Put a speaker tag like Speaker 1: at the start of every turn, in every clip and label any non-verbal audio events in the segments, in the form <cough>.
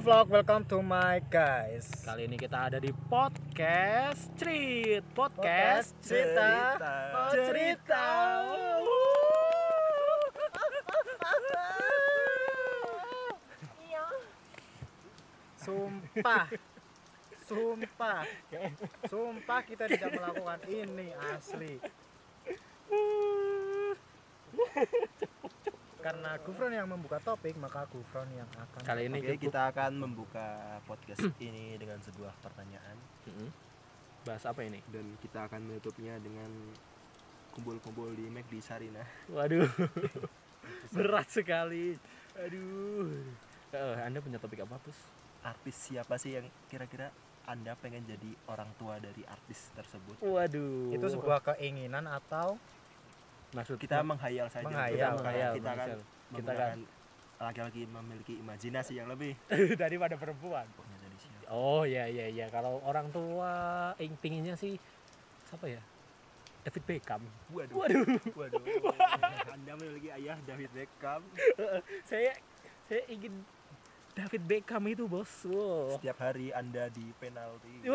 Speaker 1: vlog, welcome to my guys.
Speaker 2: Kali ini kita ada di podcast Street Podcast,
Speaker 1: Podcast cerita
Speaker 3: Cerita.
Speaker 1: cerita.
Speaker 2: <laughs>
Speaker 1: Sumpah. Sumpah. Sumpah kita tidak melakukan ini asli. Karena Gufron yang membuka topik, maka Gufron yang akan
Speaker 2: Kali ini
Speaker 3: Oke,
Speaker 2: kita
Speaker 3: kita akan membuka <clears throat> podcast ini dengan sebuah pertanyaan
Speaker 2: Mm-mm. bahas apa ini?
Speaker 3: dan kita akan menutupnya dengan kumpul-kumpul di McD Sarina.
Speaker 2: Waduh, <laughs> berat sekali. Aduh. Eh, anda punya topik apa, Pus?
Speaker 3: Artis siapa sih yang kira-kira Anda pengen jadi orang tua dari artis tersebut?
Speaker 2: Waduh.
Speaker 1: itu sebuah keinginan atau
Speaker 2: maksud
Speaker 3: Kita menghayal saja.
Speaker 1: Menghayal,
Speaker 3: kita,
Speaker 2: menghayal,
Speaker 3: kita kan akan
Speaker 2: menghayal. Kita
Speaker 3: kita
Speaker 2: akan-
Speaker 3: laki-laki memiliki imajinasi yang lebih.
Speaker 2: daripada perempuan.
Speaker 3: Pokoknya jadi siapa?
Speaker 2: Oh ya ya ya kalau orang tua ing pinginnya sih siapa ya? David Beckham.
Speaker 3: Waduh.
Speaker 2: Waduh.
Speaker 3: <laughs> Waduh. Anda memiliki ayah David Beckham.
Speaker 2: saya saya ingin David Beckham itu bos. Wow. <laughs>
Speaker 3: Setiap hari Anda di penalti.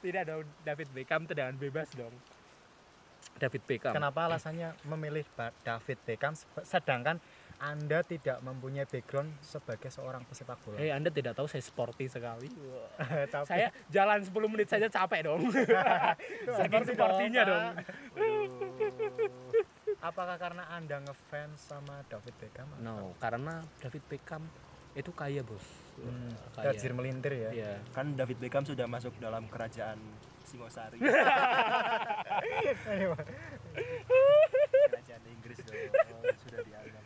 Speaker 2: Tidak dong David Beckham tendangan bebas dong. David Beckham.
Speaker 1: Kenapa alasannya memilih Ba- David Beckham seb- sedangkan Anda tidak mempunyai background sebagai seorang pesepak bola?
Speaker 2: Hei Eh, Anda tidak tahu saya sporty sekali.
Speaker 1: <laughs> Tapi-
Speaker 2: <laughs> Eh, saya jalan 10 menit saja capek dong. <laughs> Saking
Speaker 1: Seperti
Speaker 2: sportinya
Speaker 1: dong,
Speaker 2: dong.
Speaker 3: Waduh.
Speaker 1: Apakah karena Anda ngefans sama David Beckham?
Speaker 2: No, karena David Beckham itu kaya bos.
Speaker 1: Hmm,
Speaker 2: Kaya.
Speaker 1: tajir melintir ya.
Speaker 2: Iya.
Speaker 3: kan David Beckham sudah masuk dalam kerajaan
Speaker 2: <laughs>
Speaker 3: Singosari
Speaker 2: Iya,
Speaker 3: kerajaan Inggris dong sudah dianggap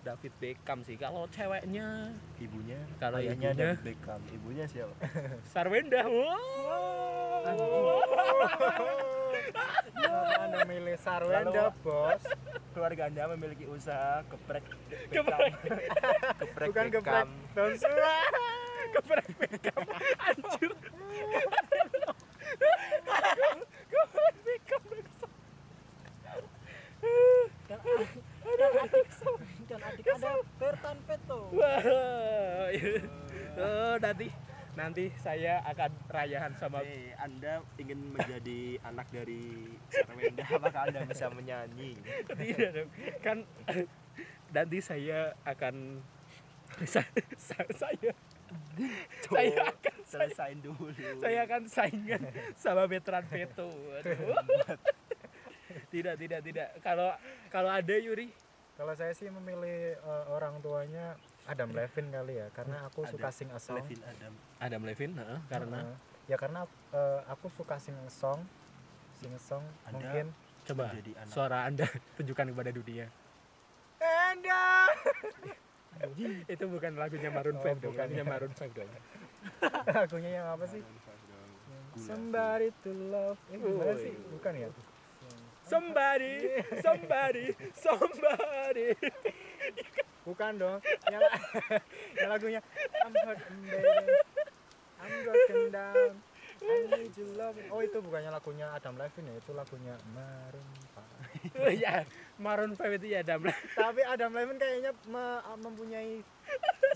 Speaker 2: David Beckham sih. Kalau ceweknya
Speaker 3: ibunya
Speaker 2: Kalau
Speaker 3: ayahnya
Speaker 2: ibunya?
Speaker 3: David Beckham ibunya siapa
Speaker 2: Sarwenda. Wow.
Speaker 1: Kenapa Anda milih Sarwenda, Bos?
Speaker 3: keluarga anda memiliki usaha keprek
Speaker 2: Keprek.
Speaker 3: keprek
Speaker 1: Bukan geprek.
Speaker 3: Beckham
Speaker 1: Terus
Speaker 2: Keprek Beckham. Anjir. Keprek Beckham.
Speaker 1: dan adik Anda Bertan Peto.
Speaker 2: Wah. Oh, nanti nanti saya akan rayahan sama
Speaker 3: Hei, anda ingin menjadi anak dari Sarwenda apakah anda bisa menyanyi
Speaker 2: tidak dong. kan nanti saya akan saya saya saya akan
Speaker 3: selesain dulu
Speaker 2: saya akan saingan sama veteran Veto. Aduh. tidak tidak tidak kalau kalau ada Yuri
Speaker 1: <laughs> Kalau saya sih memilih eh, orang tuanya Adam Levine kali ya, karena aku
Speaker 3: Adam
Speaker 1: suka sing a song.
Speaker 3: Levin Adam
Speaker 2: Adam Levin karena
Speaker 1: Eh, ya karena eh, aku suka sing a song, sing a song
Speaker 3: Anda-
Speaker 1: mungkin.
Speaker 2: coba
Speaker 3: Menjadi anak.
Speaker 2: suara anda <laughs> tunjukkan kepada dunia
Speaker 1: Anda. <laughs>
Speaker 2: itu bukan lagunya
Speaker 1: Oh,
Speaker 2: Maroon 5 dong
Speaker 1: bukan.
Speaker 2: lagunya Maroon 5 dong
Speaker 1: Lagunya yang apa sih? Somebody to love. Eh, gimana
Speaker 2: Woi.
Speaker 1: sih? Bukan ya?
Speaker 2: somebody somebody somebody
Speaker 1: Bukan dong. Yang, <laughs> yang lagunya I'm broken down. I'm broken down. I need your love. Oh itu bukannya lagunya Adam Levine ya, itu lagunya Maroon 5.
Speaker 2: <laughs> ya Maroon 5 itu ya Adam Levine
Speaker 1: <laughs> Tapi Adam Levine kayaknya me- mempunyai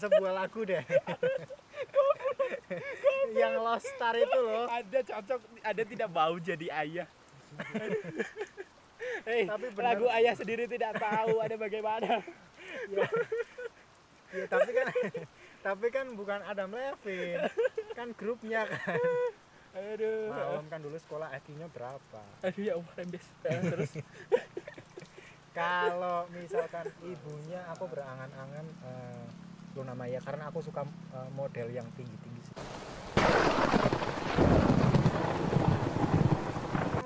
Speaker 1: sebuah lagu deh. <laughs> yang Lost Star itu loh.
Speaker 2: ada cocok ada tidak mau jadi <laughs> ayah Hei,
Speaker 1: Tapi benar.
Speaker 2: lagu ayah sendiri tidak tahu ada bagaimana
Speaker 1: Ya, tapi kan <laughs> tapi kan bukan Adam Levine. Kan grupnya kan.
Speaker 2: aduh
Speaker 1: Malam kan dulu sekolah IQ-nya berapa?
Speaker 2: aduh ya Allah rembes Eh, <laughs> terus
Speaker 1: kalau misalkan ibunya aku berangan-angan eh, Luna Maya karena aku suka eh, model yang tinggi-tinggi sih.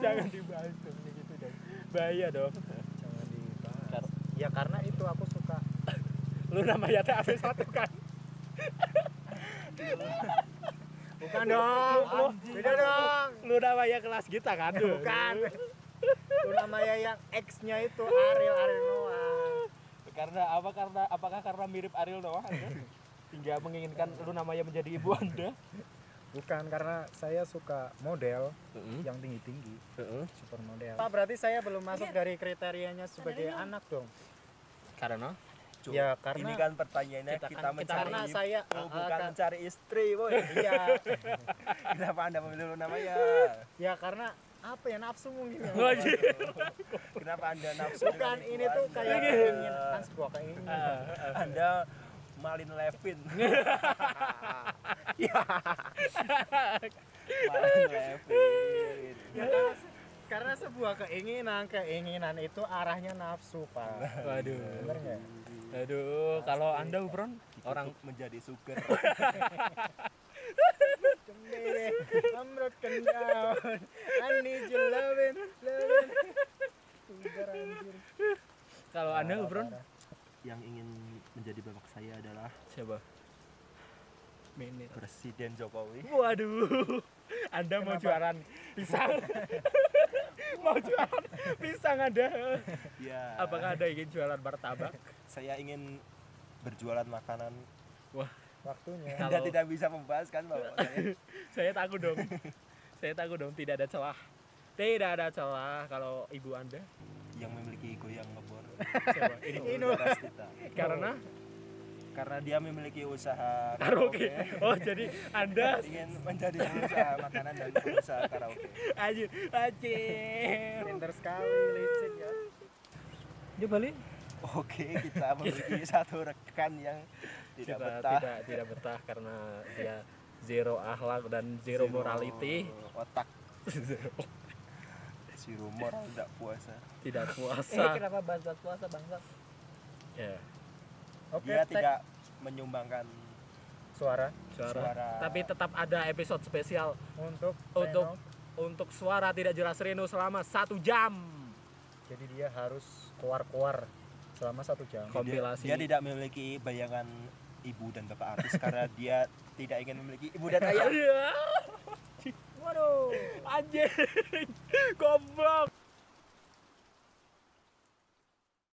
Speaker 2: jangan dibahas dong kayak gitu dong bahaya dong
Speaker 1: jangan dibahas
Speaker 2: Kar-
Speaker 1: ya karena itu aku suka
Speaker 2: lu namanya teh AB satu kan
Speaker 1: bukan dong
Speaker 2: Lu-
Speaker 1: beda dong
Speaker 2: lu namanya kelas kita kan
Speaker 1: bukan Luna Maya yang X-nya itu Ariel Ariel Noah
Speaker 2: karena apa karena apakah karena mirip Ariel Noah Anda? hingga menginginkan lu namanya menjadi ibu anda
Speaker 1: bukan karena saya suka model yang tinggi-tinggi supermodel Pak berarti saya belum masuk dari kriterianya sebagai anak dong
Speaker 2: karena
Speaker 3: Cuk,
Speaker 1: Ya, karena
Speaker 3: ini kan pertanyaannya
Speaker 2: kita
Speaker 3: kita,
Speaker 2: kan- kita
Speaker 3: mencari
Speaker 1: karena saya
Speaker 3: oh,
Speaker 1: uh,
Speaker 3: bukan
Speaker 1: kar-
Speaker 3: mencari istri, boy.
Speaker 1: iya
Speaker 3: <laughs> Kenapa Anda memilih namanya?
Speaker 1: ya karena apa ya nafsu mungkin ya
Speaker 2: Wajib.
Speaker 3: Kenapa Anda nafsu?
Speaker 1: bukan
Speaker 3: dengan
Speaker 1: ini
Speaker 3: ibu
Speaker 1: tuh
Speaker 3: Anda?
Speaker 1: kayak keinginan kan sebuah keinginan
Speaker 3: Anda Malin <laughs> Levin. Ya. Malin Levin.
Speaker 1: Ya, karena, karena sebuah keinginan keinginan itu arahnya nafsu pak
Speaker 2: Waduh.
Speaker 1: bener nggak ya?
Speaker 2: Aduh, kalau Anda Bron orang
Speaker 3: Orang menjadi sugar.
Speaker 1: Cendere, amrot kendal, Ani jelawin, lawin. Tiger anjir.
Speaker 2: kalau Nah, Anda Bron
Speaker 1: Parah.
Speaker 3: Yang ingin menjadi bapak saya adalah
Speaker 2: siapa? Menit.
Speaker 3: Presiden Jokowi.
Speaker 2: Waduh. Anda mau
Speaker 1: Kenapa?
Speaker 2: jualan <laughs> pisang. mau jualan pisang Anda.
Speaker 3: Ya.
Speaker 2: Apakah Anda ingin jualan martabak?
Speaker 3: saya ingin berjualan makanan.
Speaker 1: Waktunya.
Speaker 3: Anda
Speaker 2: Kalau-
Speaker 3: tidak bisa membahas kan bahwa saya
Speaker 2: Saya takut dong. Saya takut dong tidak ada celah. Tidak ada celah kalau ibu Anda
Speaker 3: yang memiliki ego yang
Speaker 2: <laughs>
Speaker 3: ngebor.
Speaker 2: siapa? Oh, Ini
Speaker 1: Inu.
Speaker 3: Rastita.
Speaker 2: karena
Speaker 3: Karena dia memiliki usaha
Speaker 2: <laughs> karaoke. Oh, jadi <laughs> Anda
Speaker 3: ingin menjadi pengusaha makanan dan pengusaha karaoke.
Speaker 2: anjir anjir.
Speaker 1: Pinter sekali licik ya.
Speaker 2: Dia balik.
Speaker 3: Oke,
Speaker 2: <laughs>
Speaker 3: kita memiliki satu rekan yang tidak
Speaker 2: Kita
Speaker 3: betah.
Speaker 2: tidak tidak betah karena dia zero akhlak dan zero, morality. <laughs>
Speaker 3: Otak si rumor tidak puasa.
Speaker 2: tidak
Speaker 1: Eh
Speaker 2: puasa.
Speaker 1: kenapa bahas-bahas puasa bangsa?
Speaker 2: ya,
Speaker 1: Oke,
Speaker 3: Dia
Speaker 1: tag.
Speaker 3: tidak menyumbangkan
Speaker 1: suara
Speaker 2: suara.
Speaker 3: suara.
Speaker 2: Tapi tetap ada episode spesial
Speaker 1: untuk
Speaker 2: Untuk.
Speaker 1: Reno.
Speaker 2: untuk suara tidak jelas Reno selama satu jam.
Speaker 1: Jadi dia harus keluar-keluar selama satu jam.
Speaker 2: Kom- kompilasi.
Speaker 3: Dia, dia tidak memiliki bayangan ibu dan bapak artis karena
Speaker 2: <laughs>
Speaker 3: dia tidak ingin memiliki ibu dan ayah.
Speaker 2: Iya,
Speaker 1: Waduh.
Speaker 2: anjing, <laughs> goblok.